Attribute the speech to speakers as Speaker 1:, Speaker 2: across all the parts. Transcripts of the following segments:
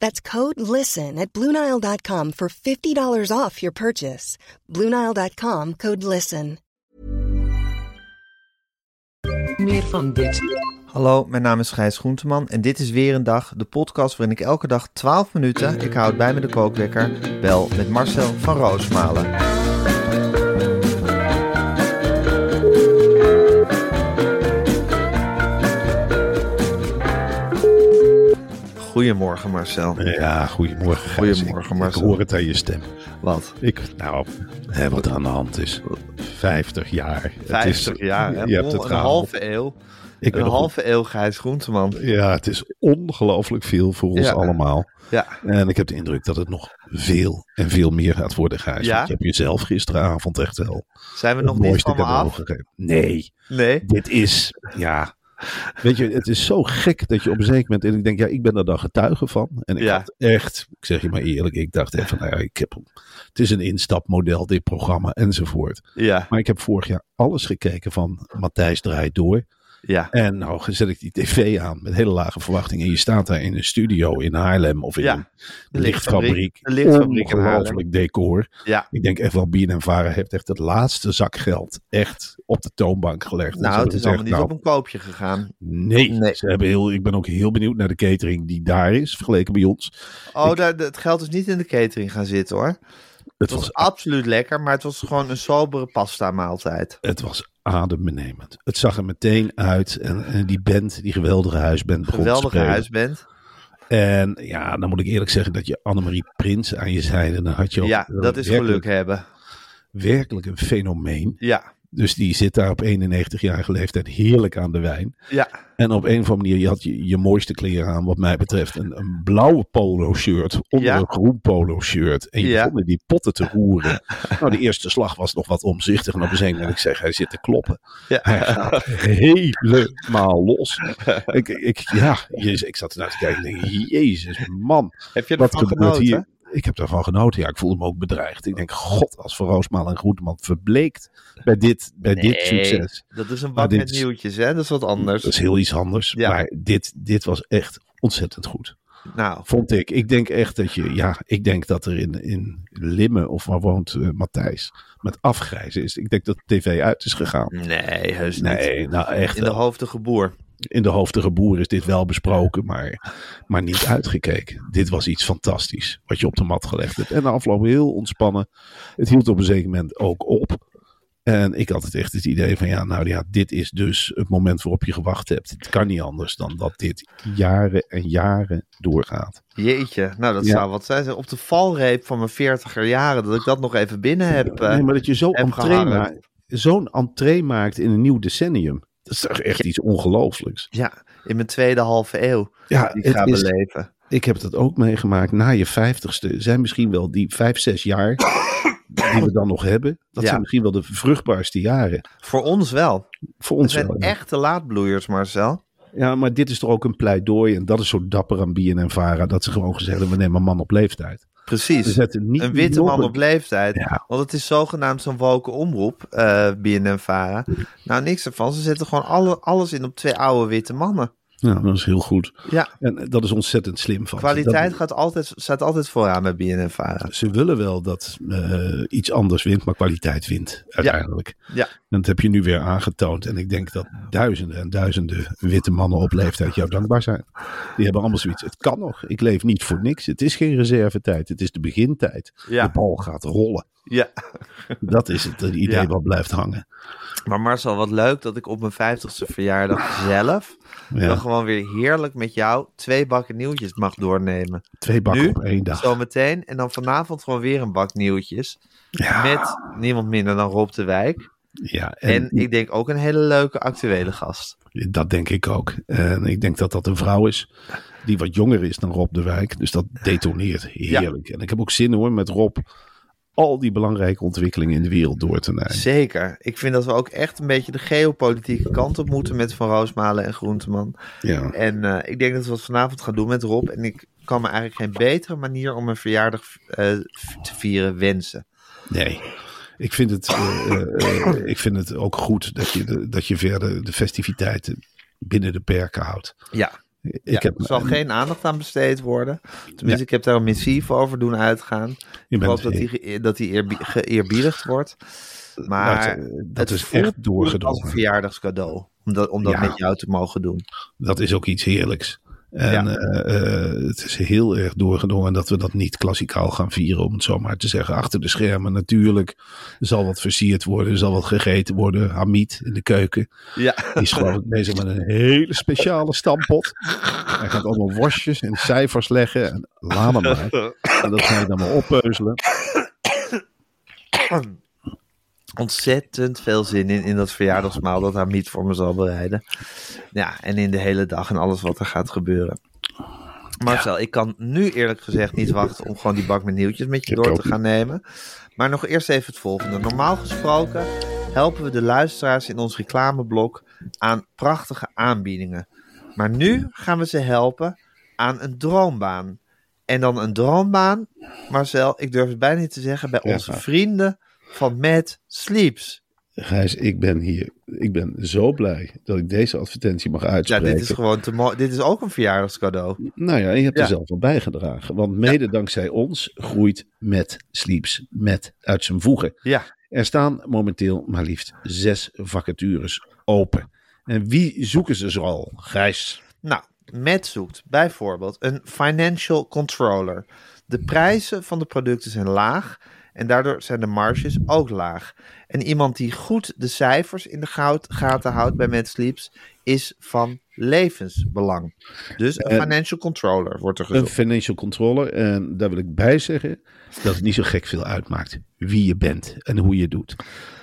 Speaker 1: That's code LISTEN at Bluenile.com for $50 off your purchase. Bluenile.com code LISTEN.
Speaker 2: Meer van dit.
Speaker 3: Hallo, mijn naam is Gijs Groenteman en dit is weer een dag, de podcast waarin ik elke dag 12 minuten, ik houd bij me de kookwekker, bel met Marcel van Roosmalen. Goedemorgen Marcel.
Speaker 4: Ja, goedemorgen. Gijs.
Speaker 3: Goedemorgen,
Speaker 4: Ik-
Speaker 3: Marcel.
Speaker 4: Ik hoor het aan je stem.
Speaker 3: Wat?
Speaker 4: Ik, nou, hè, wat er aan de hand is. 50 jaar. Het is-
Speaker 3: 50 jaar, hè?
Speaker 4: Je hebt
Speaker 3: Een
Speaker 4: het gehaald.
Speaker 3: halve eeuw.
Speaker 4: Ik ben
Speaker 3: een
Speaker 4: nog-
Speaker 3: halve eeuw Gijs Groenteman.
Speaker 4: Ja, het is ongelooflijk veel voor ons
Speaker 3: Ja.
Speaker 4: allemaal.
Speaker 3: Ja,
Speaker 4: En ik heb de indruk dat het nog veel en veel meer gaat worden, Gijs.
Speaker 3: Ja?
Speaker 4: Want je hebt jezelf gisteravond echt wel
Speaker 3: zijn we
Speaker 4: het
Speaker 3: nog niet
Speaker 4: mooiste
Speaker 3: van me
Speaker 4: cadeau
Speaker 3: af?
Speaker 4: gegeven. Nee,
Speaker 3: Nee.
Speaker 4: dit is, ja... Weet je, het is zo gek dat je op een zeker moment... En ik denk, ja, ik ben daar dan getuige van. En ik
Speaker 3: Ja.
Speaker 4: had echt, ik zeg je maar eerlijk, ik dacht even, nou ja, ik heb, hem. het is een instapmodel, dit programma, enzovoort.
Speaker 3: Ja,
Speaker 4: Maar ik heb vorig jaar alles gekeken van Matthijs draait door.
Speaker 3: ja,
Speaker 4: En nou zet ik die tv aan met hele lage verwachtingen. En je staat daar in een studio in Haarlem of in
Speaker 3: Ja.
Speaker 4: een lichtfabriek.
Speaker 3: Een lichtfabriek in Haarlem.
Speaker 4: Ongelooflijk decor.
Speaker 3: ja.
Speaker 4: Ik denk echt wel, Bien en Varen heeft echt het laatste zak geld echt op de toonbank gelegd. En ze
Speaker 3: Nou, het
Speaker 4: hebben
Speaker 3: is allemaal niet
Speaker 4: gezegd,
Speaker 3: op een koopje gegaan.
Speaker 4: nou, Nee,
Speaker 3: Nee.
Speaker 4: Ze hebben heel, ik ben ook heel benieuwd naar de catering die daar is, vergeleken bij ons.
Speaker 3: Oh, daar, het geld is niet in de catering gaan zitten hoor. Het
Speaker 4: Het
Speaker 3: was
Speaker 4: was,
Speaker 3: absoluut lekker, maar het was gewoon een sobere pasta maaltijd.
Speaker 4: het was adembenemend. Het zag er meteen uit. En, en die band, die geweldige huisband, begon te
Speaker 3: Geweldige
Speaker 4: spelen.
Speaker 3: huisband.
Speaker 4: En ja, dan moet ik eerlijk zeggen dat je Annemarie Prins aan je zijde, dan had je ook
Speaker 3: Ja, dat is
Speaker 4: werkelijk,
Speaker 3: geluk hebben.
Speaker 4: werkelijk een fenomeen.
Speaker 3: Ja,
Speaker 4: Dus die zit daar op 91-jarige leeftijd heerlijk aan de wijn.
Speaker 3: ja,
Speaker 4: En op een of andere manier, je had je, je mooiste kleren aan, wat mij betreft. Een, een blauwe polo shirt onder
Speaker 3: Ja.
Speaker 4: een groen polo shirt. En je
Speaker 3: Ja.
Speaker 4: begon in die potten te roeren. nou, de eerste slag was nog wat omzichtig. En op een zeker moment, ik zeg, hij zit te kloppen. Hij
Speaker 3: ja.
Speaker 4: gaat helemaal los. Ik, ik, ja, jezus, ik zat ernaar te kijken en ik denk, jezus man.
Speaker 3: Heb je
Speaker 4: Wat
Speaker 3: ervan
Speaker 4: gebeurt
Speaker 3: genoten?
Speaker 4: hier? Ik heb daarvan genoten. Ja, ik voelde me ook bedreigd. Ik denk, god, als Van Roosmaal en Groenteman verbleekt bij dit, bij dit
Speaker 3: Nee,
Speaker 4: succes.
Speaker 3: Dat is een
Speaker 4: Maar
Speaker 3: bak
Speaker 4: Nou, dit
Speaker 3: met
Speaker 4: is-
Speaker 3: nieuwtjes, hè? Dat is wat anders.
Speaker 4: Dat is heel iets anders.
Speaker 3: Ja.
Speaker 4: Maar dit, dit was echt ontzettend goed.
Speaker 3: Nou,
Speaker 4: Vond ik. Ik denk echt dat je, ja, ik denk dat er in, in Limmen of waar woont eh, Matthijs met afgrijzen is. Ik denk dat de tv uit is gegaan.
Speaker 3: nee, heus niet.
Speaker 4: Nee, nou echt.
Speaker 3: In de hoofdige boer.
Speaker 4: in de hoofdige boer is dit wel besproken, maar, maar niet uitgekeken. Dit was iets fantastisch wat je op de mat gelegd hebt. En de afloop heel ontspannen. Het hield op een zeker moment ook op. En ik had het echt het idee van ja, nou ja, dit is dus het moment waarop je gewacht hebt. Het kan niet anders dan dat dit jaren en jaren doorgaat.
Speaker 3: Jeetje, nou dat
Speaker 4: Ja.
Speaker 3: zou wat zijn. Op de valreep van mijn 40er jaren, dat ik dat nog even binnen heb. eh,
Speaker 4: Nee, maar dat je zo
Speaker 3: heb
Speaker 4: entree
Speaker 3: gehangen.
Speaker 4: maakt- zo'n entree maakt in een nieuw decennium. Dat is toch echt iets ongelooflijks.
Speaker 3: Ja, in mijn tweede halve eeuw.
Speaker 4: Ja,
Speaker 3: Die ik
Speaker 4: het
Speaker 3: ga
Speaker 4: is-
Speaker 3: beleven.
Speaker 4: Ik heb dat ook meegemaakt. Na je vijftigste zijn misschien wel die vijf, zes jaar die we dan nog hebben. Dat
Speaker 3: Ja.
Speaker 4: zijn misschien wel de vruchtbaarste jaren.
Speaker 3: Voor ons wel.
Speaker 4: Voor
Speaker 3: We
Speaker 4: ons
Speaker 3: zijn
Speaker 4: wel. ja.
Speaker 3: echte laadbloeiers, Marcel.
Speaker 4: Ja, maar dit is toch ook een pleidooi. En dat is zo dapper aan Bien en Vara. Dat ze gewoon gezegd hebben, we nemen een man op leeftijd. We
Speaker 3: Precies.
Speaker 4: zetten niet
Speaker 3: Een witte
Speaker 4: nog
Speaker 3: man
Speaker 4: een-
Speaker 3: op leeftijd.
Speaker 4: Ja.
Speaker 3: Want het is zogenaamd zo'n woke omroep, eh BNN Vara. Nou, niks ervan. Ze zetten gewoon alle, alles in op twee oude witte mannen.
Speaker 4: Ja, dat is heel goed.
Speaker 3: Ja,
Speaker 4: En eh, dat is ontzettend slim van ze.
Speaker 3: kwaliteit
Speaker 4: Dat-
Speaker 3: gaat altijd, staat altijd vooraan bij BNN Vara.
Speaker 4: Ze willen wel dat eh, iets anders wint, maar kwaliteit wint uiteindelijk.
Speaker 3: Ja.
Speaker 4: En dat heb je nu weer aangetoond. En ik denk dat duizenden en duizenden witte mannen op leeftijd jou dankbaar zijn. Die hebben allemaal zoiets. Het kan nog. Ik leef niet voor niks. Het is geen reservetijd. Het is de begintijd.
Speaker 3: Ja.
Speaker 4: De bal gaat rollen.
Speaker 3: Ja.
Speaker 4: Dat is het, het idee
Speaker 3: Ja.
Speaker 4: wat blijft hangen.
Speaker 3: Maar Marcel, wat leuk dat ik op mijn 50ste verjaardag zelf
Speaker 4: Ja.
Speaker 3: dan gewoon weer heerlijk met jou twee bakken nieuwtjes mag doornemen.
Speaker 4: Twee bakken
Speaker 3: nu,
Speaker 4: op één dag.
Speaker 3: Zometeen. En dan vanavond gewoon weer een bak nieuwtjes.
Speaker 4: Ja.
Speaker 3: Met niemand minder dan Rob de Wijk.
Speaker 4: Ja, Ah. en,
Speaker 3: En, ik denk ook een hele leuke actuele gast.
Speaker 4: dat denk ik ook. En ik denk dat dat een vrouw is die wat jonger is dan Rob de Wijk. Dus dat detoneert heerlijk. En ik heb ook zin hoor met Rob al die belangrijke ontwikkelingen in de wereld door te nemen.
Speaker 3: Zeker. Ik vind dat we ook echt een beetje de geopolitieke kant op moeten met Van Roosmalen en Groenteman.
Speaker 4: Ja.
Speaker 3: En eh, ik denk dat we dat vanavond gaan doen met Rob. En ik kan me eigenlijk geen betere manier om mijn verjaardag eh, te vieren wensen.
Speaker 4: Nee. Ik vind, het, eh, eh, eh, ik vind het ook goed dat je, de- dat je verder de festiviteiten binnen de perken houdt.
Speaker 3: Ja.
Speaker 4: Ik
Speaker 3: Ja,
Speaker 4: heb,
Speaker 3: er zal geen aandacht aan besteed worden. Tenminste, ik heb daar een missief over doen uitgaan.
Speaker 4: je
Speaker 3: Ik
Speaker 4: bent-
Speaker 3: hoop dat die, ge- dat die eerbie- geëerbiedigd wordt. Maar
Speaker 4: Luister, eh, dat
Speaker 3: het
Speaker 4: is
Speaker 3: voelt
Speaker 4: echt
Speaker 3: als een
Speaker 4: doorgedrongen.
Speaker 3: verjaardagscadeau. Om dat, om dat
Speaker 4: Ja.
Speaker 3: met jou te mogen doen.
Speaker 4: dat is ook iets heerlijks. En
Speaker 3: Ja.
Speaker 4: eh, eh, het is heel erg doorgedrongen dat we dat niet klassikaal gaan vieren, om het zo maar te zeggen. Achter de schermen natuurlijk Er zal wat versierd worden, er zal wat gegeten worden. Hamid in de keuken
Speaker 3: Ja,
Speaker 4: die is geloof ik bezig met een hele speciale stampot. Hij gaat allemaal worstjes en cijfers leggen en laat hem maar. En dat ga je dan maar oppeuzelen.
Speaker 3: ontzettend veel zin in, in dat verjaardagsmaal dat Hamid voor me zal bereiden. Ja, en in de hele dag en alles wat er gaat gebeuren. Marcel, ik kan nu eerlijk gezegd niet wachten om gewoon die bak met nieuwtjes met je
Speaker 4: Ik
Speaker 3: door
Speaker 4: ook
Speaker 3: te
Speaker 4: niet.
Speaker 3: gaan nemen. Maar nog eerst even het volgende. Normaal gesproken helpen we de luisteraars in ons reclameblok aan prachtige aanbiedingen. Maar nu gaan we ze helpen aan een droombaan. En dan een droombaan, Marcel, ik durf het bijna niet te zeggen, bij
Speaker 4: Ja,
Speaker 3: onze
Speaker 4: maar-
Speaker 3: vrienden van Mad Sleeps.
Speaker 4: Gijs, ik ben hier. Ik ben zo blij dat ik deze advertentie mag
Speaker 3: Ja,
Speaker 4: uitspreken.
Speaker 3: dit is gewoon te mooi. Dit is ook een verjaardagscadeau.
Speaker 4: Nou ja, je hebt
Speaker 3: Ja.
Speaker 4: er zelf aan bijgedragen. Want mede dankzij ons groeit met Sleeps met uit zijn voegen.
Speaker 3: Ja,
Speaker 4: Er staan momenteel maar liefst zes vacatures open. En wie zoeken ze zoal? Gijs.
Speaker 3: nou, Matt zoekt bijvoorbeeld een financial controller. De prijzen van de producten zijn laag en daardoor zijn de marges ook laag. En iemand die goed de cijfers in de goud- gaten houdt bij Matt Sleeps is van levensbelang. Dus een
Speaker 4: Eh,
Speaker 3: financial controller wordt er
Speaker 4: Een
Speaker 3: gezocht.
Speaker 4: financial controller. En daar wil ik bij zeggen dat het niet zo gek veel uitmaakt wie je bent en hoe je het doet.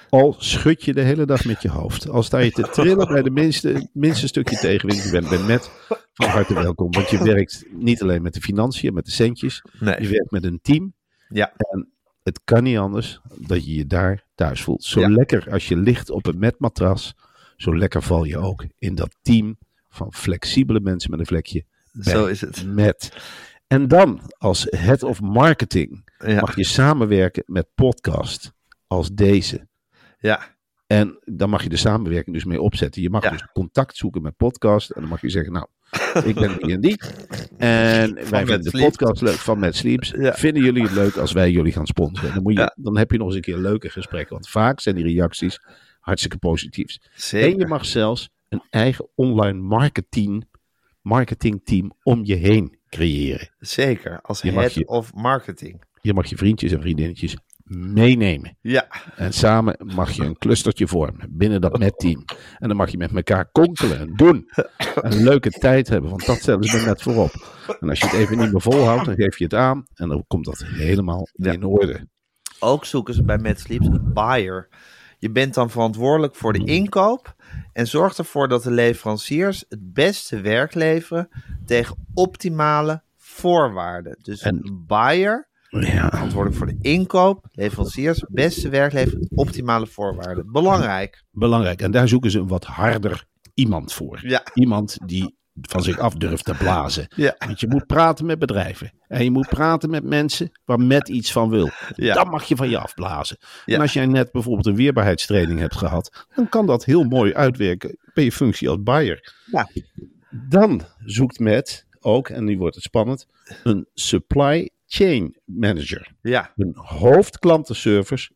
Speaker 4: Al schud je de hele dag met je hoofd. Al sta je te trillen bij de minste, minste stukje tegenwind. Je bent bij Met van harte welkom. Want je werkt niet alleen met de financiën, met de centjes. Je
Speaker 3: Nee,
Speaker 4: werkt met een team.
Speaker 3: ja,
Speaker 4: Het kan niet anders dat je je daar thuis voelt. Zo
Speaker 3: Ja.
Speaker 4: lekker als je ligt op een matmatras. Zo lekker val je ook in dat team van flexibele mensen met een vlekje. bij
Speaker 3: zo is het.
Speaker 4: met. En dan als head of marketing
Speaker 3: Ja,
Speaker 4: mag je samenwerken met podcast als deze.
Speaker 3: ja,
Speaker 4: En dan mag je de samenwerking dus mee opzetten. Je mag
Speaker 3: Ja.
Speaker 4: dus contact zoeken met podcast. En dan mag je zeggen, nou, ik ben die en die. En wij
Speaker 3: Mad
Speaker 4: vinden de
Speaker 3: Sleeps.
Speaker 4: podcast leuk van Mad Sleeps.
Speaker 3: Ja.
Speaker 4: Vinden jullie het leuk als wij jullie gaan sponsoren? Dan, moet je,
Speaker 3: Ja.
Speaker 4: dan heb je nog eens een keer leuke gesprekken. Want vaak zijn die reacties hartstikke positiefs. En je
Speaker 3: zeker.
Speaker 4: mag zelfs een eigen online marketing, marketingteam om je heen creëren.
Speaker 3: Zeker, als
Speaker 4: Je mag
Speaker 3: head
Speaker 4: je-
Speaker 3: of marketing.
Speaker 4: Je mag je vriendjes en vriendinnetjes meenemen.
Speaker 3: Ja,
Speaker 4: En samen mag je een clustertje vormen binnen dat MET-team. En dan mag je met elkaar konkelen en doen. En een leuke tijd hebben, want dat stellen ze me net voorop. En als je het even niet meer volhoudt, dan geef je het aan. En dan komt dat helemaal
Speaker 3: Ja.
Speaker 4: in orde.
Speaker 3: Ook zoeken ze bij Mad Sleeps een buyer. Je bent dan verantwoordelijk voor de inkoop en zorgt ervoor dat de leveranciers het beste werk leveren tegen optimale voorwaarden. Dus
Speaker 4: En-
Speaker 3: een buyer,
Speaker 4: Ja,
Speaker 3: verantwoordelijk voor de inkoop, leveranciers, beste werk leveren, optimale voorwaarden. Belangrijk.
Speaker 4: belangrijk. En daar zoeken ze een wat harder iemand voor.
Speaker 3: Ja.
Speaker 4: Iemand die van zich af durft te blazen.
Speaker 3: Ja.
Speaker 4: Want je moet praten met bedrijven. En je moet praten met mensen waar met iets van wil.
Speaker 3: Ja.
Speaker 4: Dat mag je van je afblazen.
Speaker 3: Ja.
Speaker 4: En als jij net bijvoorbeeld een weerbaarheidstraining hebt gehad, dan kan dat heel mooi uitwerken bij je functie als buyer.
Speaker 3: Ja.
Speaker 4: Dan zoekt Matt ook, en nu wordt het spannend, een supply chain manager.
Speaker 3: Ja,
Speaker 4: Een hoofd klantenservice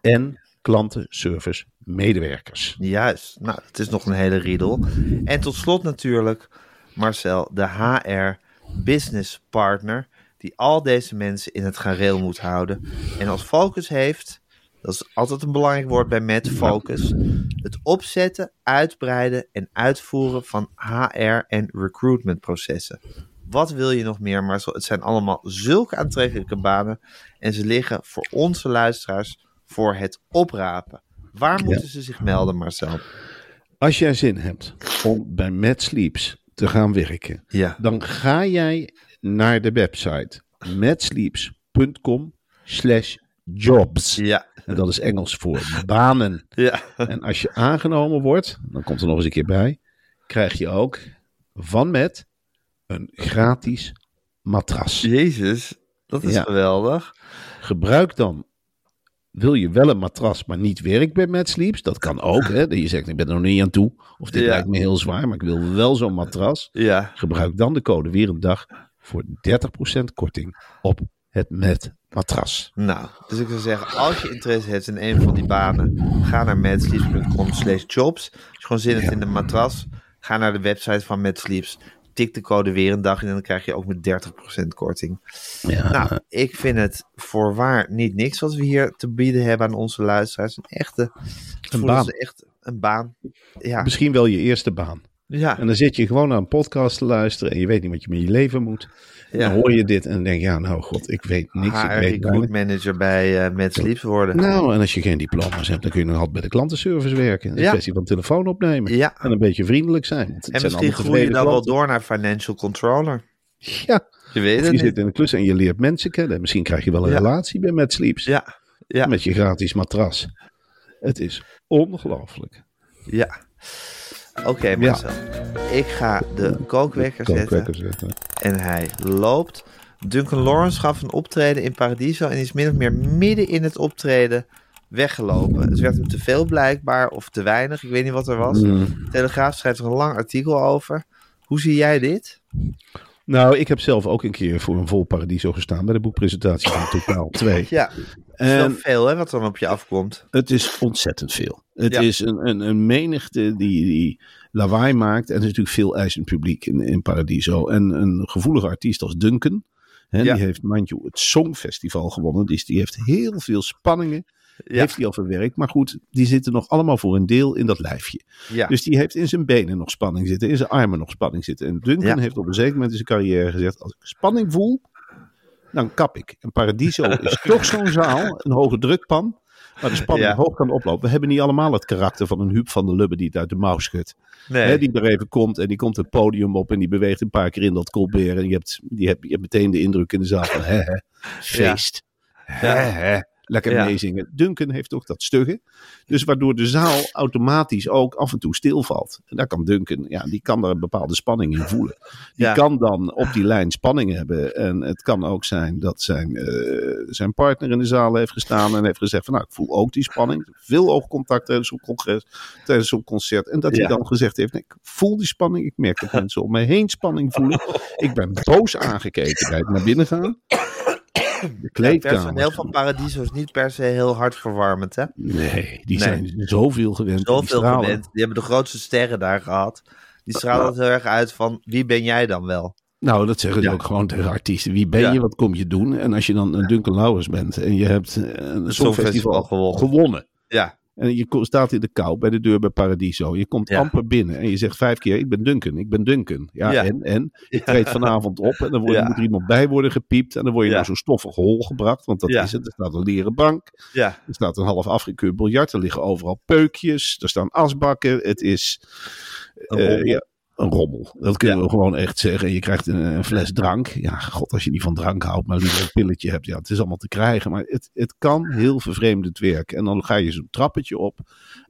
Speaker 4: en klantenservice medewerkers.
Speaker 3: juist. Nou, het is nog een hele riedel. En tot slot natuurlijk, Marcel, de HR business partner, die al deze mensen in het gareel moet houden. En als focus heeft, dat is altijd een belangrijk woord bij Matt, focus, het opzetten, uitbreiden en uitvoeren van HR en recruitment processen. Wat wil je nog meer, Marcel? Het zijn allemaal zulke aantrekkelijke banen en ze liggen voor onze luisteraars voor het oprapen. Waar moeten ze zich melden, Marcel?
Speaker 4: Als jij zin hebt om bij Matt Sleeps te gaan werken,
Speaker 3: Ja.
Speaker 4: dan ga jij naar de website matsleeps.com slash jobs.
Speaker 3: Ja,
Speaker 4: En dat is Engels voor banen.
Speaker 3: ja.
Speaker 4: En als je aangenomen wordt, dan komt er nog eens een keer bij, krijg je ook van met een gratis matras.
Speaker 3: Jezus, dat is
Speaker 4: Ja.
Speaker 3: geweldig.
Speaker 4: Gebruik dan, wil je wel een matras, maar niet werk bij Mad Sleeps? Dat kan ook, hè? Dat je zegt, ik ben er nog niet aan toe. Of dit
Speaker 3: Ja.
Speaker 4: lijkt me heel zwaar, maar ik wil wel zo'n matras.
Speaker 3: Ja,
Speaker 4: Gebruik dan de code weer een dag voor 30% korting op het met matras.
Speaker 3: nou, dus ik zou zeggen, als je interesse hebt in een van die banen, ga naar madsleeps.com slash jobs. Als je gewoon zin hebt in een matras, ga naar de website van Madsleeps, tik de code weer een dag in en dan krijg je ook met 30% korting.
Speaker 4: Ja,
Speaker 3: Nou, ik vind het voorwaar niet niks wat we hier te bieden hebben aan onze luisteraars. Een echte, het voelt
Speaker 4: baan.
Speaker 3: als echt een baan. Ja,
Speaker 4: misschien wel je eerste baan.
Speaker 3: ja,
Speaker 4: En dan zit je gewoon naar een podcast te luisteren en je weet niet wat je met je leven moet. En
Speaker 3: Ja.
Speaker 4: dan hoor je dit en dan denk je, ja, nou god, ik weet niks.
Speaker 3: HR
Speaker 4: ik weet
Speaker 3: recruit
Speaker 4: weinig.
Speaker 3: manager bij eh Madsleeps worden.
Speaker 4: Nou, en als je geen diploma's hebt, dan kun je nog altijd bij de klantenservice werken. Het is
Speaker 3: Ja.
Speaker 4: een kwestie van telefoon opnemen.
Speaker 3: Ja.
Speaker 4: En een beetje vriendelijk zijn. Want het
Speaker 3: En
Speaker 4: zijn
Speaker 3: misschien
Speaker 4: allemaal
Speaker 3: groei je
Speaker 4: tevreden
Speaker 3: dan wel
Speaker 4: klanten.
Speaker 3: door naar financial controller.
Speaker 4: Ja,
Speaker 3: Je weet
Speaker 4: of
Speaker 3: het
Speaker 4: je
Speaker 3: niet.
Speaker 4: zit in een klus en je leert mensen kennen. Misschien krijg je wel een
Speaker 3: Ja.
Speaker 4: relatie bij Mad Sleeps.
Speaker 3: Ja, ja,
Speaker 4: Met je gratis matras. Het is ongelooflijk.
Speaker 3: ja. Oké, Marcel. Ik ga de kookwekker zetten.
Speaker 4: Kookwekker zetten.
Speaker 3: En hij loopt. Duncan Lawrence gaf een optreden in Paradiso. En is min of meer midden in het optreden weggelopen. Het werd hem te veel blijkbaar of te weinig. Ik weet niet wat er was.
Speaker 4: Mm.
Speaker 3: Telegraaf schrijft er een lang artikel over. Hoe zie jij dit?
Speaker 4: Nou, ik heb zelf ook een keer voor een vol paradiso gestaan bij de boekpresentatie van Totaal 2.
Speaker 3: Ja,
Speaker 4: En-
Speaker 3: zo veel hè, wat dan op je afkomt.
Speaker 4: Het is ontzettend veel. Het
Speaker 3: Ja.
Speaker 4: is een, een, een menigte die, die lawaai maakt. En er is natuurlijk veel eisend publiek in, in Paradiso. En een gevoelige artiest als Duncan. Hè,
Speaker 3: Ja.
Speaker 4: Die heeft, mind you, het Songfestival gewonnen. Dus die heeft heel veel spanningen.
Speaker 3: Ja,
Speaker 4: Heeft hij al verwerkt. Maar goed, die zitten nog allemaal voor een deel in dat lijfje.
Speaker 3: ja.
Speaker 4: Dus die heeft in zijn benen nog spanning zitten. In zijn armen nog spanning zitten. En Duncan
Speaker 3: Ja.
Speaker 4: heeft op een zeker moment in zijn carrière gezegd. Als ik spanning voel, dan kap ik. En Paradiso is toch zo'n zaal. Een hoge drukpan. Waar de spanning
Speaker 3: Ja.
Speaker 4: hoog kan oplopen. We hebben niet allemaal het karakter van een Huub van der Lubbe die het uit de mouw schudt.
Speaker 3: nee.
Speaker 4: Hè, die er even komt en die komt het podium op en die beweegt een paar keer in dat colbert. En je hebt, die hebt, je hebt meteen de indruk in de zaal van hè, hè, feest. Hè, hè, lekker
Speaker 3: Ja.
Speaker 4: meezingen. Duncan heeft ook dat stugge. Dus waardoor de zaal automatisch ook af en toe stilvalt. En daar kan Duncan, ja, die kan daar een bepaalde spanning in voelen. Die
Speaker 3: Ja.
Speaker 4: kan dan op die lijn spanning hebben. En het kan ook zijn dat zijn, eh, zijn partner in de zaal heeft gestaan en heeft gezegd van nou, ik voel ook die spanning. Veel oogcontact tijdens zo'n congres, tijdens zo'n concert. En dat
Speaker 3: Ja.
Speaker 4: hij dan gezegd heeft, nee, ik voel die spanning. Ik merk dat mensen om mij heen spanning voelen.
Speaker 3: Oh.
Speaker 4: Ik ben boos aangekeken bij het naar binnen gaan. De
Speaker 3: Het personeel
Speaker 4: kleedkamer.
Speaker 3: van Paradiso is niet per se heel hartverwarmend, hè?
Speaker 4: Nee, die zijn zoveel gewend. Die
Speaker 3: Zoveel
Speaker 4: stralen.
Speaker 3: gewend. Die hebben de grootste sterren daar gehad. Die stralen het heel erg uit van wie ben jij dan wel?
Speaker 4: Nou, dat zeggen ze
Speaker 3: Ja.
Speaker 4: ook gewoon tegen artiesten. Wie ben
Speaker 3: Ja.
Speaker 4: je, wat kom je doen? En als je dan een Duncan Lauwers bent en je hebt eh, een
Speaker 3: Songfestival
Speaker 4: songfestival
Speaker 3: gewonnen.
Speaker 4: gewonnen.
Speaker 3: Ja,
Speaker 4: En je ko- staat in de kou bij de deur bij Paradiso. Je komt
Speaker 3: Ja.
Speaker 4: amper binnen en je zegt vijf keer, ik ben Duncan, ik ben Duncan. Ja,
Speaker 3: Ja.
Speaker 4: en, en? Ik treed vanavond op en dan word,
Speaker 3: Ja.
Speaker 4: moet er iemand bij worden gepiept. En dan word je
Speaker 3: Ja.
Speaker 4: naar zo'n stoffig hol gebracht, want dat
Speaker 3: Ja.
Speaker 4: is het. Er staat een leren bank,
Speaker 3: ja,
Speaker 4: er staat een half afgekeurd biljart, er liggen overal peukjes, er staan asbakken. Het is
Speaker 3: Een
Speaker 4: eh,
Speaker 3: rommel.
Speaker 4: ja, een rommel. Dat kunnen
Speaker 3: Ja.
Speaker 4: we gewoon echt zeggen. Je krijgt een, een fles drank. Ja, god, als je niet van drank houdt, maar liever een pilletje hebt. Ja, het is allemaal te krijgen. Maar het, het kan heel vervreemdend werken. En dan ga je zo'n trappetje op.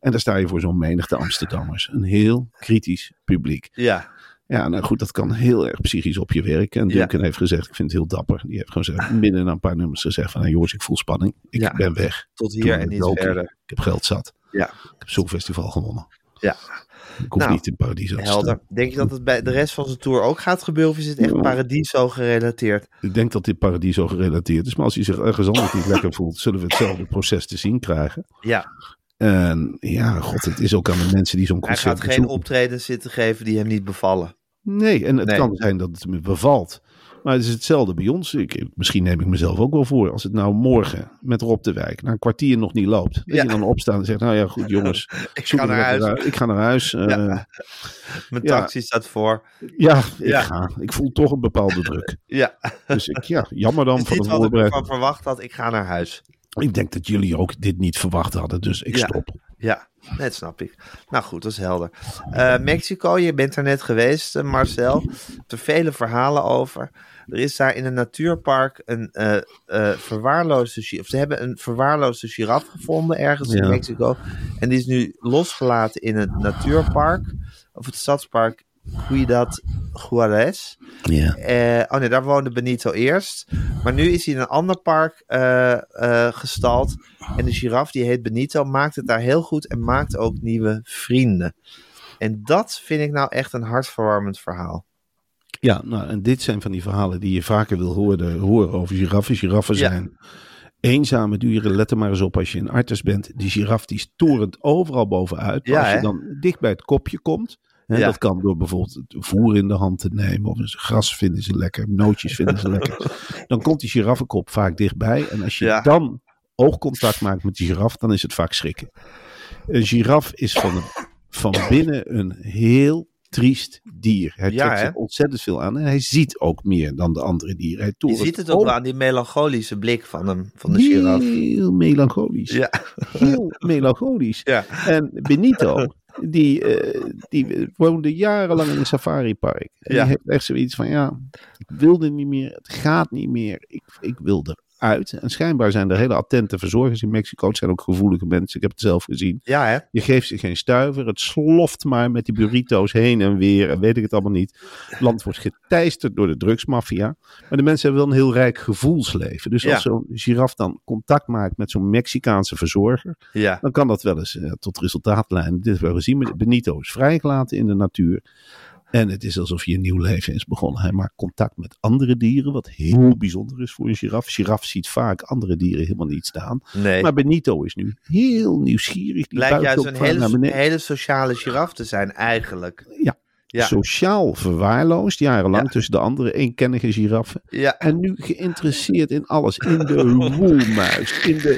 Speaker 4: En daar sta je voor zo'n menigte Amsterdammers. Een heel kritisch publiek.
Speaker 3: ja.
Speaker 4: Ja, nou goed, dat kan heel erg psychisch op je werken. En
Speaker 3: Ja.
Speaker 4: Duncan heeft gezegd, ik vind het heel dapper. Die heeft gewoon gezegd, midden na een paar nummers gezegd van... Hey, jongens, ik voel spanning. Ik
Speaker 3: Ja.
Speaker 4: ben weg.
Speaker 3: Tot
Speaker 4: Doe
Speaker 3: hier en
Speaker 4: het
Speaker 3: niet
Speaker 4: lopen.
Speaker 3: verder.
Speaker 4: Ik heb geld zat.
Speaker 3: Ja.
Speaker 4: Ik heb Songfestival gewonnen.
Speaker 3: Ja,
Speaker 4: Ik hoef
Speaker 3: Nou,
Speaker 4: niet in Paradiso te
Speaker 3: helder.
Speaker 4: staan.
Speaker 3: Denk je dat het bij de rest van zijn tour ook gaat gebeuren? Of is het echt Paradiso gerelateerd?
Speaker 4: Ik denk dat dit Paradiso gerelateerd is. Maar als hij zich ergens anders niet lekker voelt, zullen we hetzelfde proces te zien krijgen.
Speaker 3: Ja,
Speaker 4: En ja, god, het is ook aan de mensen die zo'n
Speaker 3: hij
Speaker 4: concert
Speaker 3: gaat geen
Speaker 4: bezoeken.
Speaker 3: optredens zitten geven die hem niet bevallen.
Speaker 4: Nee, en het
Speaker 3: Nee.
Speaker 4: kan zijn dat het me bevalt. Maar het is hetzelfde bij ons. Ik, misschien neem ik mezelf ook wel voor. Als het nou morgen met Rob de Wijk na een kwartier nog niet loopt. Dat
Speaker 3: Ja.
Speaker 4: je dan opstaat en zegt, nou ja, goed jongens.
Speaker 3: Ik
Speaker 4: zoek
Speaker 3: ga
Speaker 4: het
Speaker 3: naar huis,
Speaker 4: lekker uit. Ik ga naar huis. Eh, ja.
Speaker 3: mijn
Speaker 4: Ja.
Speaker 3: taxi staat voor.
Speaker 4: ik
Speaker 3: Ja.
Speaker 4: ga. Ik voel toch een bepaalde druk.
Speaker 3: Ja,
Speaker 4: Dus ik, ja, jammer dan
Speaker 3: is
Speaker 4: voor
Speaker 3: niet
Speaker 4: de
Speaker 3: wat ik
Speaker 4: voorbereiding.
Speaker 3: ervan verwacht had. Ik ga naar huis.
Speaker 4: Ik denk dat jullie ook dit niet verwacht hadden. Dus ik
Speaker 3: Ja.
Speaker 4: stop.
Speaker 3: Ja, net snap ik. Nou goed, dat is helder. Eh, Mexico, je bent daar net geweest, eh, Marcel. Er vele verhalen over. Er is daar in een natuurpark een eh eh, verwaarloosde giraf. Ze hebben een verwaarloosde giraf gevonden ergens in
Speaker 4: Ja.
Speaker 3: Mexico. En die is nu losgelaten in een natuurpark. Of het stadspark Ciudad Juarez.
Speaker 4: Ja.
Speaker 3: Eh, oh nee, daar woonde Benito eerst. Maar nu is hij in een ander park eh, eh, gestald. En de giraf, die heet Benito, maakt het daar heel goed en maakt ook nieuwe vrienden. En dat vind ik nou echt een hartverwarmend verhaal.
Speaker 4: Ja, nou, en dit zijn van die verhalen die je vaker wil horen, horen over giraffen. Giraffen
Speaker 3: Ja.
Speaker 4: zijn eenzame dieren. Let er maar eens op als je in artis bent. Die giraf die storend overal bovenuit. Maar
Speaker 3: Ja,
Speaker 4: als je
Speaker 3: hè?
Speaker 4: dan dicht bij het kopje komt. Hè,
Speaker 3: Ja.
Speaker 4: Dat kan door bijvoorbeeld het voer in de hand te nemen. Of eens gras vinden ze lekker. Nootjes vinden ze lekker. Dan komt die giraffenkop vaak dichtbij. En als je
Speaker 3: Ja.
Speaker 4: dan oogcontact maakt met die giraf, dan is het vaak schrikken. Een giraf is van, van binnen een heel triest dier. Hij
Speaker 3: Ja,
Speaker 4: trekt
Speaker 3: hè?
Speaker 4: zich ontzettend veel aan en hij ziet ook meer dan de andere dieren. Hij
Speaker 3: Je
Speaker 4: torent
Speaker 3: ziet het ook
Speaker 4: om.
Speaker 3: wel aan die melancholische blik van hem, van de giraf.
Speaker 4: Heel melancholisch.
Speaker 3: Ja,
Speaker 4: Heel melancholisch.
Speaker 3: ja,
Speaker 4: En Benito, die, eh, die woonde jarenlang in een safaripark. En
Speaker 3: Ja.
Speaker 4: die heeft echt zoiets van, ja, ik wil dit niet meer, het gaat niet meer, ik, ik wil eruit. En schijnbaar zijn er hele attente verzorgers in Mexico. Het zijn ook gevoelige mensen, ik heb het zelf gezien.
Speaker 3: ja hè?
Speaker 4: Je geeft ze geen stuiver, het sloft maar met die burrito's heen en weer en weet ik het allemaal niet. Het land wordt geteisterd door de drugsmafia. Maar de mensen hebben wel een heel rijk gevoelsleven. Dus
Speaker 3: Ja.
Speaker 4: als zo'n giraf dan contact maakt met zo'n Mexicaanse verzorger,
Speaker 3: Ja,
Speaker 4: dan kan dat wel eens eh, tot resultaat leiden. Dit hebben we gezien. Benito is vrijgelaten in de natuur. En het is alsof je een nieuw leven is begonnen. Hij maakt contact met andere dieren, wat heel bijzonder is voor een giraf. Giraf ziet vaak andere dieren helemaal niet staan.
Speaker 3: nee.
Speaker 4: Maar Benito is nu heel nieuwsgierig. Die
Speaker 3: Lijkt
Speaker 4: buikt
Speaker 3: juist
Speaker 4: ook
Speaker 3: een
Speaker 4: vaak naar
Speaker 3: hele,
Speaker 4: beneden.
Speaker 3: hele sociale giraf te zijn eigenlijk. ja.
Speaker 4: Sociaal verwaarloosd, jarenlang
Speaker 3: Ja.
Speaker 4: tussen de andere eenkennige giraffen.
Speaker 3: Ja,
Speaker 4: En nu geïnteresseerd in alles. In de woelmuis, in de,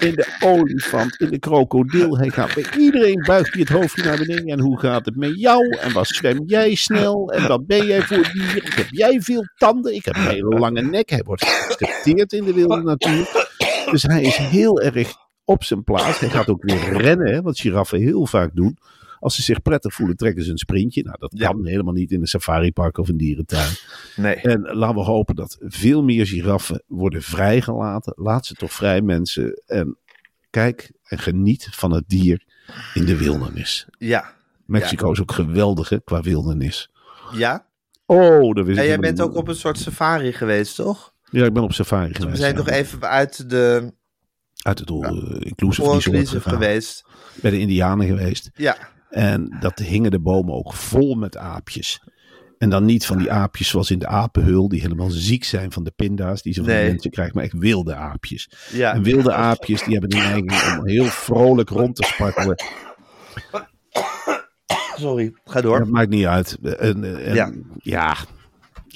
Speaker 4: in de olifant, in de krokodil. Hij gaat bij iedereen buigt hij het hoofdje naar beneden. En hoe gaat het met jou? En wat zwem jij snel? En wat ben jij voor dier? Heb jij veel tanden? Ik heb een hele lange nek. Hij wordt geaccepteerd in de wilde natuur. Dus hij is heel erg op zijn plaats. Hij gaat ook weer rennen, hè, wat giraffen heel vaak doen. Als ze zich prettig voelen, trekken ze een sprintje. Nou, dat
Speaker 3: Ja.
Speaker 4: kan helemaal niet in een safaripark of een dierentuin.
Speaker 3: nee.
Speaker 4: En laten we hopen dat veel meer giraffen worden vrijgelaten. Laat ze toch vrij, mensen. En kijk en geniet van het dier in de wildernis.
Speaker 3: Ja,
Speaker 4: Mexico is ook geweldig hè, qua wildernis.
Speaker 3: ja.
Speaker 4: Oh, daar
Speaker 3: En
Speaker 4: wist ik
Speaker 3: jij
Speaker 4: helemaal
Speaker 3: bent
Speaker 4: niet.
Speaker 3: ook op een soort safari geweest, toch?
Speaker 4: Ja, ik ben op safari
Speaker 3: We
Speaker 4: geweest.
Speaker 3: zijn
Speaker 4: ja.
Speaker 3: toch even uit de
Speaker 4: Uit het all, eh, inclusive resort
Speaker 3: all-inclusive
Speaker 4: gegaan.
Speaker 3: geweest.
Speaker 4: Bij de indianen geweest.
Speaker 3: Ja,
Speaker 4: En dat hingen de bomen ook vol met aapjes. En dan niet van die aapjes zoals in de apenhul, die helemaal ziek zijn van de pinda's die ze van
Speaker 3: Nee.
Speaker 4: de mensen krijgen, maar echt wilde aapjes.
Speaker 3: Ja.
Speaker 4: En wilde aapjes, die hebben de neiging om heel vrolijk rond te spartelen.
Speaker 3: sorry. Ga door.
Speaker 4: Dat maakt niet uit. En, eh, en,
Speaker 3: Ja.
Speaker 4: ja.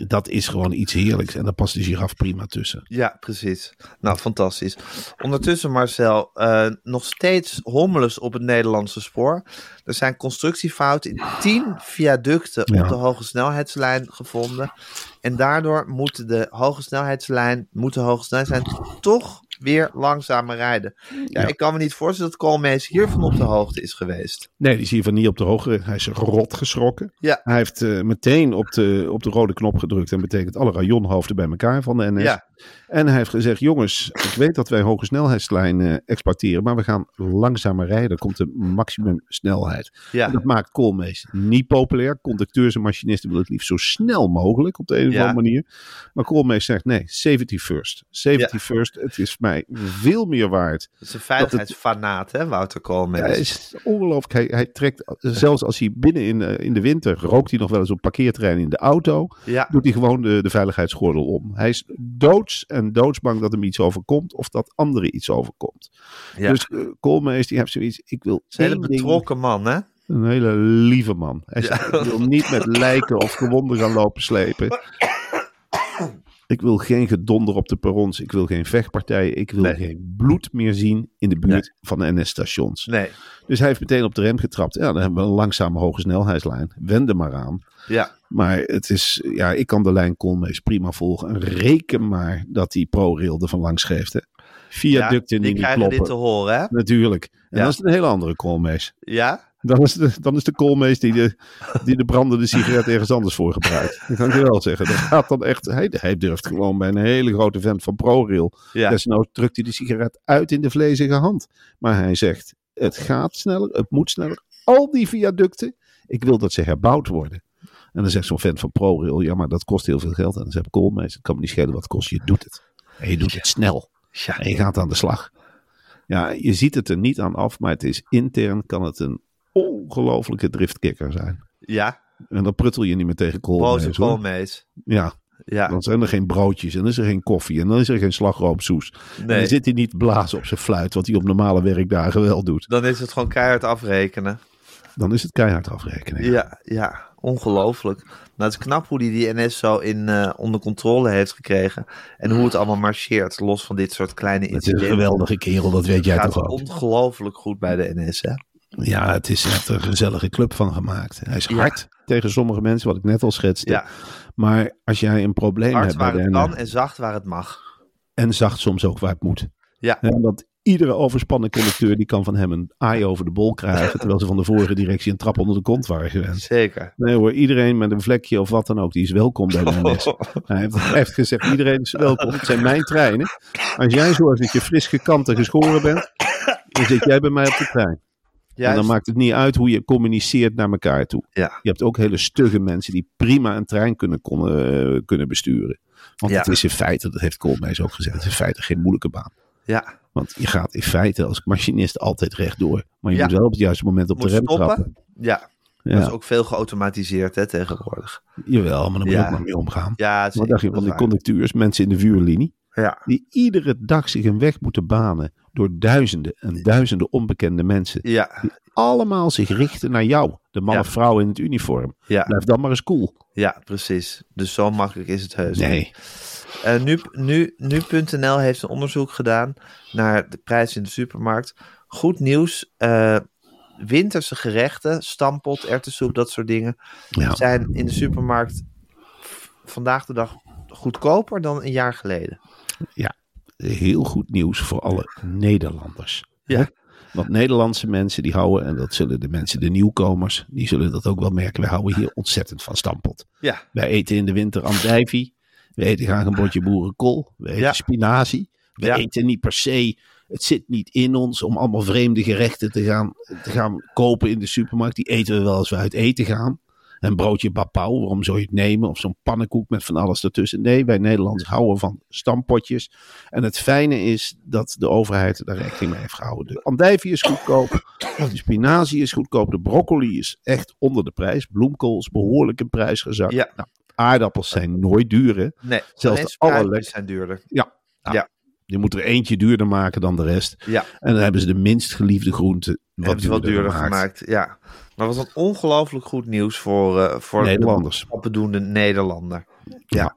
Speaker 4: dat is gewoon iets heerlijks. En daar past de giraf prima tussen.
Speaker 3: Ja, precies. Nou, fantastisch. Ondertussen, Marcel, eh, nog steeds hommeles op het Nederlandse spoor. Er zijn constructiefouten in tien viaducten op
Speaker 4: Ja.
Speaker 3: de hoge snelheidslijn gevonden. En daardoor moet de hoge snelheidslijn, moet de hoge snelheidslijn toch weer langzamer rijden. Ja,
Speaker 4: Ja.
Speaker 3: Ik kan me niet voorstellen dat Koolmees hiervan op de hoogte is geweest.
Speaker 4: Nee, die zie je van niet op de hoogte. Hij is rot geschrokken.
Speaker 3: Ja.
Speaker 4: Hij heeft eh, meteen op de, op de rode knop gedrukt. En betekent alle rajonhoofden bij elkaar van de NS.
Speaker 3: Ja,
Speaker 4: En hij heeft gezegd: jongens, ik weet dat wij hoge snelheidslijnen eh, exporteren, maar we gaan langzamer rijden. Dan komt de maximum snelheid. En
Speaker 3: ja,
Speaker 4: dat maakt koolmees niet populair. Conducteurs en machinisten willen het liefst zo snel mogelijk op de een of
Speaker 3: Ja.
Speaker 4: andere manier. Maar koolmees zegt: nee, safety first. Safety first. Het is mij veel meer waard.
Speaker 3: Dat is een veiligheidsfanaat, hè, Wouter Koolmees.
Speaker 4: Hij is ongelooflijk. Hij, hij trekt, eh, zelfs als hij binnen in, eh, in de winter rookt hij nog wel eens op parkeerterrein in de auto.
Speaker 3: ja,
Speaker 4: doet hij gewoon de, de veiligheidsgordel om. Hij is doods en doodsbang dat hem iets overkomt of dat anderen iets overkomt.
Speaker 3: ja.
Speaker 4: Dus eh, Koolmees die heeft zoiets, ik wil
Speaker 3: een hele
Speaker 4: één ding-
Speaker 3: betrokken man, hè?
Speaker 4: een hele lieve man. Hij
Speaker 3: Ja.
Speaker 4: zegt, ik wil niet met lijken of gewonden gaan lopen slepen. Ik wil geen gedonder op de perrons. Ik wil geen vechtpartijen. Ik wil
Speaker 3: Nee.
Speaker 4: geen bloed meer zien in de buurt van de NS-stations.
Speaker 3: Nee,
Speaker 4: Dus hij heeft meteen op de rem getrapt. Ja, dan hebben we een langzame hoge snelheidslijn. Wend er maar aan.
Speaker 3: ja.
Speaker 4: Maar het is, ja, ik kan de lijn Koolmees prima volgen. En reken maar dat die ProRail er van langs geeft. Hè. Viaducten
Speaker 3: ja,
Speaker 4: die
Speaker 3: die
Speaker 4: niet
Speaker 3: krijgen
Speaker 4: kloppen.
Speaker 3: dit te horen, hè?
Speaker 4: Natuurlijk. En
Speaker 3: Ja.
Speaker 4: dat is het een hele andere Koolmees.
Speaker 3: Ja?
Speaker 4: Dan is de, dan is de Koolmees die de, die de brandende sigaret ergens anders voor gebruikt. Dat kan ik je wel zeggen. Dat gaat dan echt, hij, hij durft gewoon bij een hele grote vent van ProRail.
Speaker 3: Ja.
Speaker 4: Desnoods drukt hij de sigaret uit in de vlezige hand. Maar hij zegt, het gaat sneller, het moet sneller. Al die viaducten, ik wil dat ze herbouwd worden. En dan zegt zo'n vent van ProRail, ja maar dat kost heel veel geld. En dan zegt Koolmees, het kan me niet schelen wat het kost, je doet het. En je doet het snel.
Speaker 3: Ja.
Speaker 4: En je gaat aan de slag. Ja, je ziet het er niet aan af, maar het is intern kan het een ongelofelijke driftkikker zijn.
Speaker 3: ja.
Speaker 4: En dan pruttel je niet meer tegen Koolmees.
Speaker 3: Boze
Speaker 4: hoor.
Speaker 3: Koolmees.
Speaker 4: Ja,
Speaker 3: Ja,
Speaker 4: dan zijn er geen broodjes en dan is er geen koffie en dan is er geen slagroomsoes. En dan
Speaker 3: nee.
Speaker 4: zit hij niet blazen op zijn fluit, wat hij op normale werkdagen wel doet.
Speaker 3: Dan is het gewoon keihard afrekenen.
Speaker 4: Dan is het keihard afrekenen.
Speaker 3: Ja, ja, ongelooflijk. Nou, het is knap hoe hij die NS zo in, eh, onder controle heeft gekregen. En hoe het allemaal marcheert, los van dit soort kleine
Speaker 4: Het is een
Speaker 3: incidenten.
Speaker 4: geweldige kerel, dat weet jij
Speaker 3: gaat
Speaker 4: toch ook.
Speaker 3: ongelooflijk goed bij de NS, hè?
Speaker 4: Ja, het is echt een gezellige club van gemaakt. Hij is hard tegen sommige mensen, wat ik net al schetste.
Speaker 3: Ja,
Speaker 4: Maar als jij een probleem
Speaker 3: hard
Speaker 4: hebt bij
Speaker 3: waar
Speaker 4: de
Speaker 3: het kan
Speaker 4: NS
Speaker 3: en zacht waar het mag.
Speaker 4: en zacht soms ook waar het moet.
Speaker 3: Ja.
Speaker 4: Hè, want iedere overspannen conducteur die kan van hem een aai over de bol krijgen, terwijl ze van de vorige directie een trap onder de kont waren gewend.
Speaker 3: Zeker.
Speaker 4: Nee hoor, iedereen met een vlekje of wat dan ook, die is welkom bij de NS. Hij heeft, hij heeft gezegd, iedereen is welkom. Het zijn mijn treinen. Als jij zorgt dat je fris gekant en geschoren bent, dan zit jij bij mij op de trein. En
Speaker 3: Juist.
Speaker 4: dan maakt het niet uit hoe je communiceert naar elkaar toe.
Speaker 3: Ja.
Speaker 4: Je hebt ook hele stugge mensen die prima een trein kunnen, konden, eh, kunnen besturen. Want
Speaker 3: Ja.
Speaker 4: het is in feite, dat heeft Koolmees ook gezegd, het is in feite geen moeilijke baan.
Speaker 3: ja,
Speaker 4: Want je gaat in feite als machinist altijd rechtdoor. Maar je
Speaker 3: Ja.
Speaker 4: moet wel op het juiste moment op
Speaker 3: Moet
Speaker 4: de rem
Speaker 3: stoppen.
Speaker 4: trappen.
Speaker 3: ja.
Speaker 4: Ja,
Speaker 3: Dat is ook veel geautomatiseerd hè, tegenwoordig.
Speaker 4: Jawel, maar dan moet je
Speaker 3: Ja.
Speaker 4: ook maar mee omgaan.
Speaker 3: Ja,
Speaker 4: Wat
Speaker 3: zeker,
Speaker 4: dacht je
Speaker 3: dat
Speaker 4: van
Speaker 3: is
Speaker 4: die
Speaker 3: waar.
Speaker 4: conducteurs, mensen in de vuurlinie?
Speaker 3: Ja,
Speaker 4: die iedere dag zich een weg moeten banen door duizenden en duizenden onbekende mensen.
Speaker 3: ja,
Speaker 4: Allemaal zich richten naar jou, de man
Speaker 3: Ja.
Speaker 4: of vrouw in het uniform.
Speaker 3: ja,
Speaker 4: Blijf dan maar eens cool.
Speaker 3: ja, precies. Dus zo makkelijk is het heus. niet.
Speaker 4: Nee,
Speaker 3: Eh, nu, nu, nu.nl heeft een onderzoek gedaan naar de prijs in de supermarkt. Goed nieuws. eh, winterse gerechten, stampot, erwtensoep, dat soort dingen.
Speaker 4: Ja.
Speaker 3: Zijn in de supermarkt v- vandaag de dag goedkoper dan een jaar geleden.
Speaker 4: heel goed nieuws voor alle Nederlanders.
Speaker 3: Ja.
Speaker 4: Hè? Want Nederlandse mensen die houden, en dat zullen de mensen, de nieuwkomers, die zullen dat ook wel merken. Wij houden hier ontzettend van stampot.
Speaker 3: Ja,
Speaker 4: Wij eten in de winter andijvie. We eten graag een bordje boerenkool. We eten
Speaker 3: Ja.
Speaker 4: spinazie. We
Speaker 3: Ja.
Speaker 4: eten niet per se. Het zit niet in ons om allemaal vreemde gerechten te gaan, te gaan kopen in de supermarkt. Die eten we wel als we uit eten gaan. Een broodje bapau, waarom zou je het nemen? Of zo'n pannenkoek met van alles ertussen. Nee, wij Nederlanders houden van stampotjes. En het fijne is dat de overheid daar rekening mee heeft gehouden. De andijvie is goedkoop. De spinazie is goedkoop. De broccoli is echt onder de prijs. Bloemkool is behoorlijk in prijs gezakt.
Speaker 3: Ja.
Speaker 4: Nou, aardappels zijn nooit duur, hè?
Speaker 3: nee.
Speaker 4: de
Speaker 3: alleen spruitjes
Speaker 4: allerlekkerste-
Speaker 3: zijn duurder.
Speaker 4: Je moet er eentje duurder maken dan de rest.
Speaker 3: Ja,
Speaker 4: En dan hebben ze de minst geliefde groente wat
Speaker 3: hebben ze
Speaker 4: duurder,
Speaker 3: wat duurder
Speaker 4: gemaakt.
Speaker 3: gemaakt. Ja. Maar wat een ongelooflijk goed nieuws voor, eh voor de
Speaker 4: Nederlanders.
Speaker 3: opbedoende Nederlander.
Speaker 4: Ja.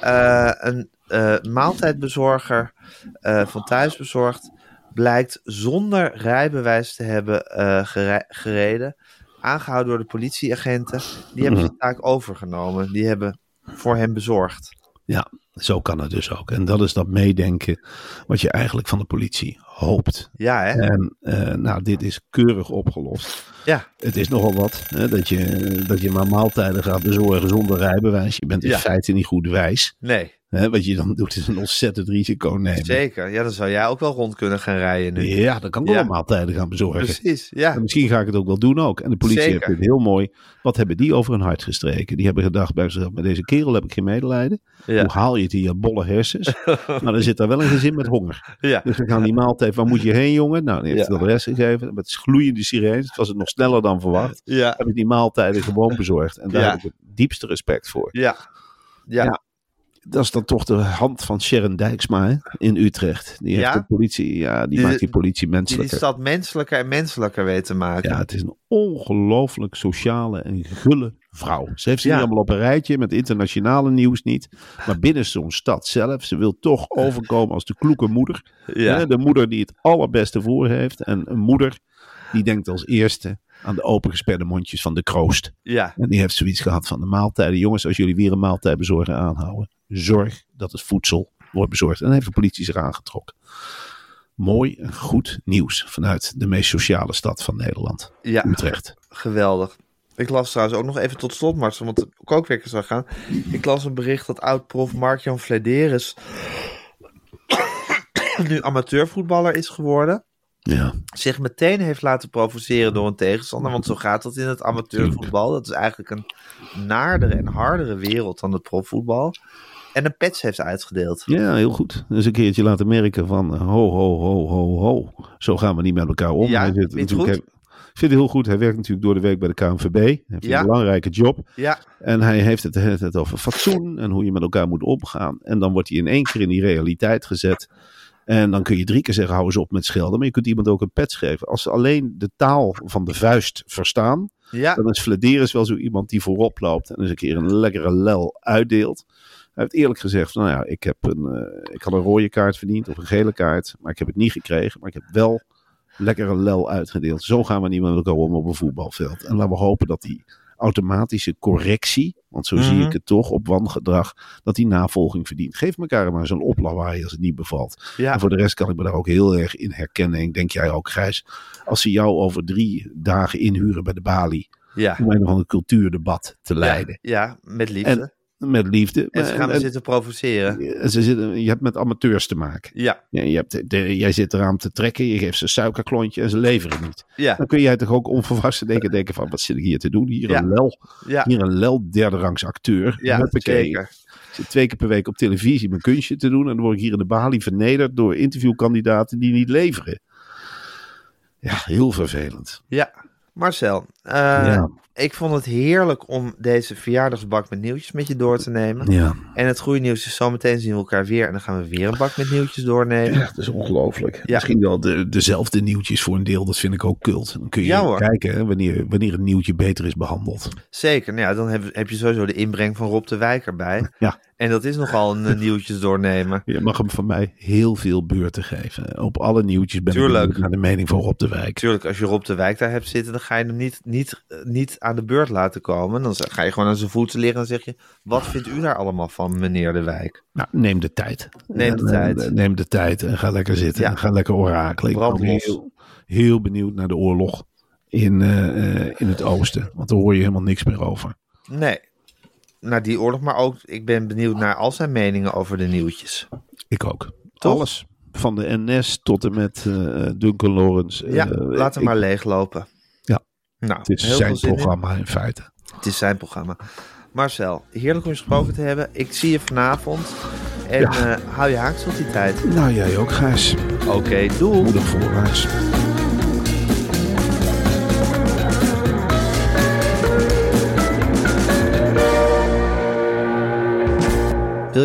Speaker 3: Eh, een eh, maaltijdbezorger eh, van thuisbezorgd blijkt zonder rijbewijs te hebben eh, gere- gereden. Aangehouden door de politieagenten. Die
Speaker 4: Mhm.
Speaker 3: hebben zijn taak overgenomen. Die hebben voor hem bezorgd.
Speaker 4: ja, zo kan het dus ook. En dat is dat meedenken wat je eigenlijk van de politie hoopt.
Speaker 3: Ja, hè?
Speaker 4: En eh, nou, dit is keurig opgelost.
Speaker 3: Ja,
Speaker 4: Het is nogal wat hè, dat, je, dat je maar maaltijden gaat bezorgen zonder rijbewijs. Je bent in
Speaker 3: Ja.
Speaker 4: feite niet goed wijs.
Speaker 3: nee.
Speaker 4: Hè, wat je dan doet is een ontzettend risico nemen.
Speaker 3: Zeker. Ja, dan zou jij ook wel rond kunnen gaan rijden nu.
Speaker 4: Ja, dat kan ik
Speaker 3: Ja. Dus
Speaker 4: allemaal tijden gaan bezorgen.
Speaker 3: Precies, ja.
Speaker 4: En misschien ga ik het ook wel doen ook. En de politie
Speaker 3: Zeker.
Speaker 4: heeft het heel mooi. Wat hebben die over hun hart gestreken? Die hebben gedacht bij zichzelf, met deze kerel heb ik geen medelijden.
Speaker 3: Ja.
Speaker 4: Hoe haal je het hier, bolle hersens? nou, dan zit daar wel een gezin met honger.
Speaker 3: Ja.
Speaker 4: Dus dan gaan die maaltijd, waar moet je heen jongen? Nou, die heeft
Speaker 3: Ja.
Speaker 4: de rest gegeven. Met gloeiende sirenes, het was het nog sneller dan verwacht.
Speaker 3: Ja.
Speaker 4: Heb ik die maaltijden gewoon bezorgd. En daar
Speaker 3: Ja.
Speaker 4: heb ik het diepste respect voor.
Speaker 3: Ja. Ja.
Speaker 4: Ja. Dat is dan toch de hand van Sharon Dijksma hè, in Utrecht. Die heeft
Speaker 3: Ja?
Speaker 4: de politie, ja, die,
Speaker 3: Die-
Speaker 4: maakt die politie
Speaker 3: Die die
Speaker 4: menselijker.
Speaker 3: stad menselijker en menselijker weet te maken.
Speaker 4: Ja, het is een ongelooflijk sociale en gulle vrouw. Ze heeft ze
Speaker 3: Ja.
Speaker 4: niet allemaal op een rijtje, met internationale nieuws niet. Maar binnen zo'n stad zelf, ze wil toch overkomen als de kloeke moeder. Hè,
Speaker 3: Ja.
Speaker 4: De moeder die het allerbeste voor heeft. En een moeder die denkt als eerste aan de opengesperde mondjes van de kroost.
Speaker 3: Ja.
Speaker 4: En die heeft zoiets gehad van de maaltijden. Jongens, als jullie weer een maaltijd bezorgen aanhouden, zorg dat het voedsel wordt bezorgd. En dan heeft de politie zich aangetrokken. Mooi en goed nieuws vanuit de meest sociale stad van Nederland.
Speaker 3: Ja.
Speaker 4: Utrecht.
Speaker 3: Geweldig. Ik las trouwens ook nog even tot slot, Marcel, want de kookwekker zou gaan. Ik las een bericht dat oud-prof Mark-Jan Vlederis nu amateurvoetballer is geworden.
Speaker 4: Ja,
Speaker 3: Zich meteen heeft laten provoceren door een tegenstander. Want zo gaat dat in het amateurvoetbal. Dat is eigenlijk een naardere en hardere wereld dan het profvoetbal. En een pets heeft uitgedeeld.
Speaker 4: ja heel goed. Dus een keertje laten merken van eh, ho, ho, ho, ho, ho. Zo gaan we niet met elkaar om.
Speaker 3: Ja, vind je het
Speaker 4: natuurlijk,
Speaker 3: goed?
Speaker 4: hij- ik vind het heel goed. Hij werkt natuurlijk door de week bij de KNVB. Hij heeft
Speaker 3: Ja.
Speaker 4: een belangrijke job.
Speaker 3: Ja,
Speaker 4: En hij heeft het de hele tijd over fatsoen en hoe je met elkaar moet omgaan. En dan wordt hij in één keer in die realiteit gezet. En dan kun je drie keer zeggen, hou eens op met schelden. Maar je kunt iemand ook een pet geven. Als ze alleen de taal van de vuist verstaan,
Speaker 3: ja,
Speaker 4: dan is Flederis wel zo iemand die voorop loopt. En eens een keer een lekkere lel uitdeelt. Hij heeft eerlijk gezegd, nou ja, ik, heb een, eh, ik had een rode kaart verdiend of een gele kaart. Maar ik heb het niet gekregen. Maar ik heb wel lekkere lel uitgedeeld. Zo gaan we niet met elkaar om op een voetbalveld. En laten we hopen dat die automatische correctie, want zo zie
Speaker 3: Mhm.
Speaker 4: ik het toch, op wangedrag, dat die navolging verdient. Geef elkaar maar zo'n oplawaai als het niet bevalt.
Speaker 3: ja.
Speaker 4: En voor de rest kan ik me daar ook heel erg in herkennen. En ik denk jij ook, Grijs, als ze jou over drie dagen inhuren bij de balie,
Speaker 3: ja.
Speaker 4: om een of ander cultuurdebat te leiden.
Speaker 3: Ja, met liefde.
Speaker 4: En- Met liefde.
Speaker 3: en ze gaan
Speaker 4: Maar-
Speaker 3: er
Speaker 4: en- eh,
Speaker 3: zitten provoceren.
Speaker 4: en ze zitten, je hebt met amateurs te maken.
Speaker 3: Ja,
Speaker 4: Ja, Je hebt, de- jij zit eraan te trekken, je geeft ze een suikerklontje en ze leveren niet.
Speaker 3: ja,
Speaker 4: Dan kun jij toch ook onvolwassen denken, denken van wat zit ik hier te doen? Hier
Speaker 3: Ja.
Speaker 4: een lel,
Speaker 3: ja.
Speaker 4: hier een lel derde rangs acteur.
Speaker 3: Ja,
Speaker 4: Huppakee.
Speaker 3: zeker.
Speaker 4: Ik zit twee keer per week op televisie mijn kunstje te doen en dan word ik hier in de balie vernederd door interviewkandidaten die niet leveren. Ja, heel vervelend.
Speaker 3: Ja. Marcel, eh,
Speaker 4: Ja.
Speaker 3: ik vond het heerlijk om deze verjaardagsbak met nieuwtjes met je door te nemen.
Speaker 4: Ja,
Speaker 3: En het goede nieuws is, zometeen zien we elkaar weer. En dan gaan we weer een bak met nieuwtjes doornemen.
Speaker 4: Ja, dat is ongelooflijk.
Speaker 3: Ja.
Speaker 4: Misschien wel de, dezelfde nieuwtjes voor een deel, dat vind ik ook kult. Dan kun je
Speaker 3: Ja, hoor.
Speaker 4: kijken hè, wanneer, wanneer een nieuwtje beter is behandeld.
Speaker 3: Zeker, nou ja, dan heb, heb je sowieso de inbreng van Rob de Wijk erbij.
Speaker 4: Ja.
Speaker 3: En dat is nogal een eh, nieuwtjes doornemen.
Speaker 4: Je mag hem van mij heel veel beurten geven. Op alle nieuwtjes ben
Speaker 3: Tuurlijk.
Speaker 4: ik benieuwd naar de mening van Rob de Wijk.
Speaker 3: Natuurlijk, als je Rob de Wijk daar hebt zitten, dan ga je hem niet, niet, eh, niet aan de beurt laten komen. Dan ga je gewoon aan zijn voeten liggen en zeg je, wat vindt u daar allemaal van, meneer de Wijk?
Speaker 4: Nou, neem de tijd.
Speaker 3: Neem de
Speaker 4: En, eh,
Speaker 3: tijd.
Speaker 4: Neem de tijd en ga lekker zitten.
Speaker 3: Ja.
Speaker 4: En ga lekker orakelen. Ik ben
Speaker 3: Brand
Speaker 4: ook
Speaker 3: los.
Speaker 4: heel, heel benieuwd naar de oorlog in, eh, eh, in het oosten. Want daar hoor je helemaal niks meer over.
Speaker 3: Nee, naar Nou, die oorlog, maar ook ik ben benieuwd naar al zijn meningen over de nieuwtjes.
Speaker 4: Ik ook.
Speaker 3: Toch?
Speaker 4: Alles. Van de NS tot en met eh, Duncan Lawrence.
Speaker 3: Ja,
Speaker 4: Eh,
Speaker 3: laat hem
Speaker 4: ik-
Speaker 3: maar leeglopen.
Speaker 4: Ja.
Speaker 3: Nou,
Speaker 4: Het is
Speaker 3: heel
Speaker 4: zijn
Speaker 3: veel zin in.
Speaker 4: programma in feite.
Speaker 3: Het is zijn programma. Marcel, heerlijk om je gesproken te hebben. Ik zie je vanavond. En
Speaker 4: Ja.
Speaker 3: eh, hou je haaks tot die tijd.
Speaker 4: Nou, jij ook, Gijs.
Speaker 3: Oké, doei.
Speaker 4: Moedig voorwaarts.
Speaker 3: Wil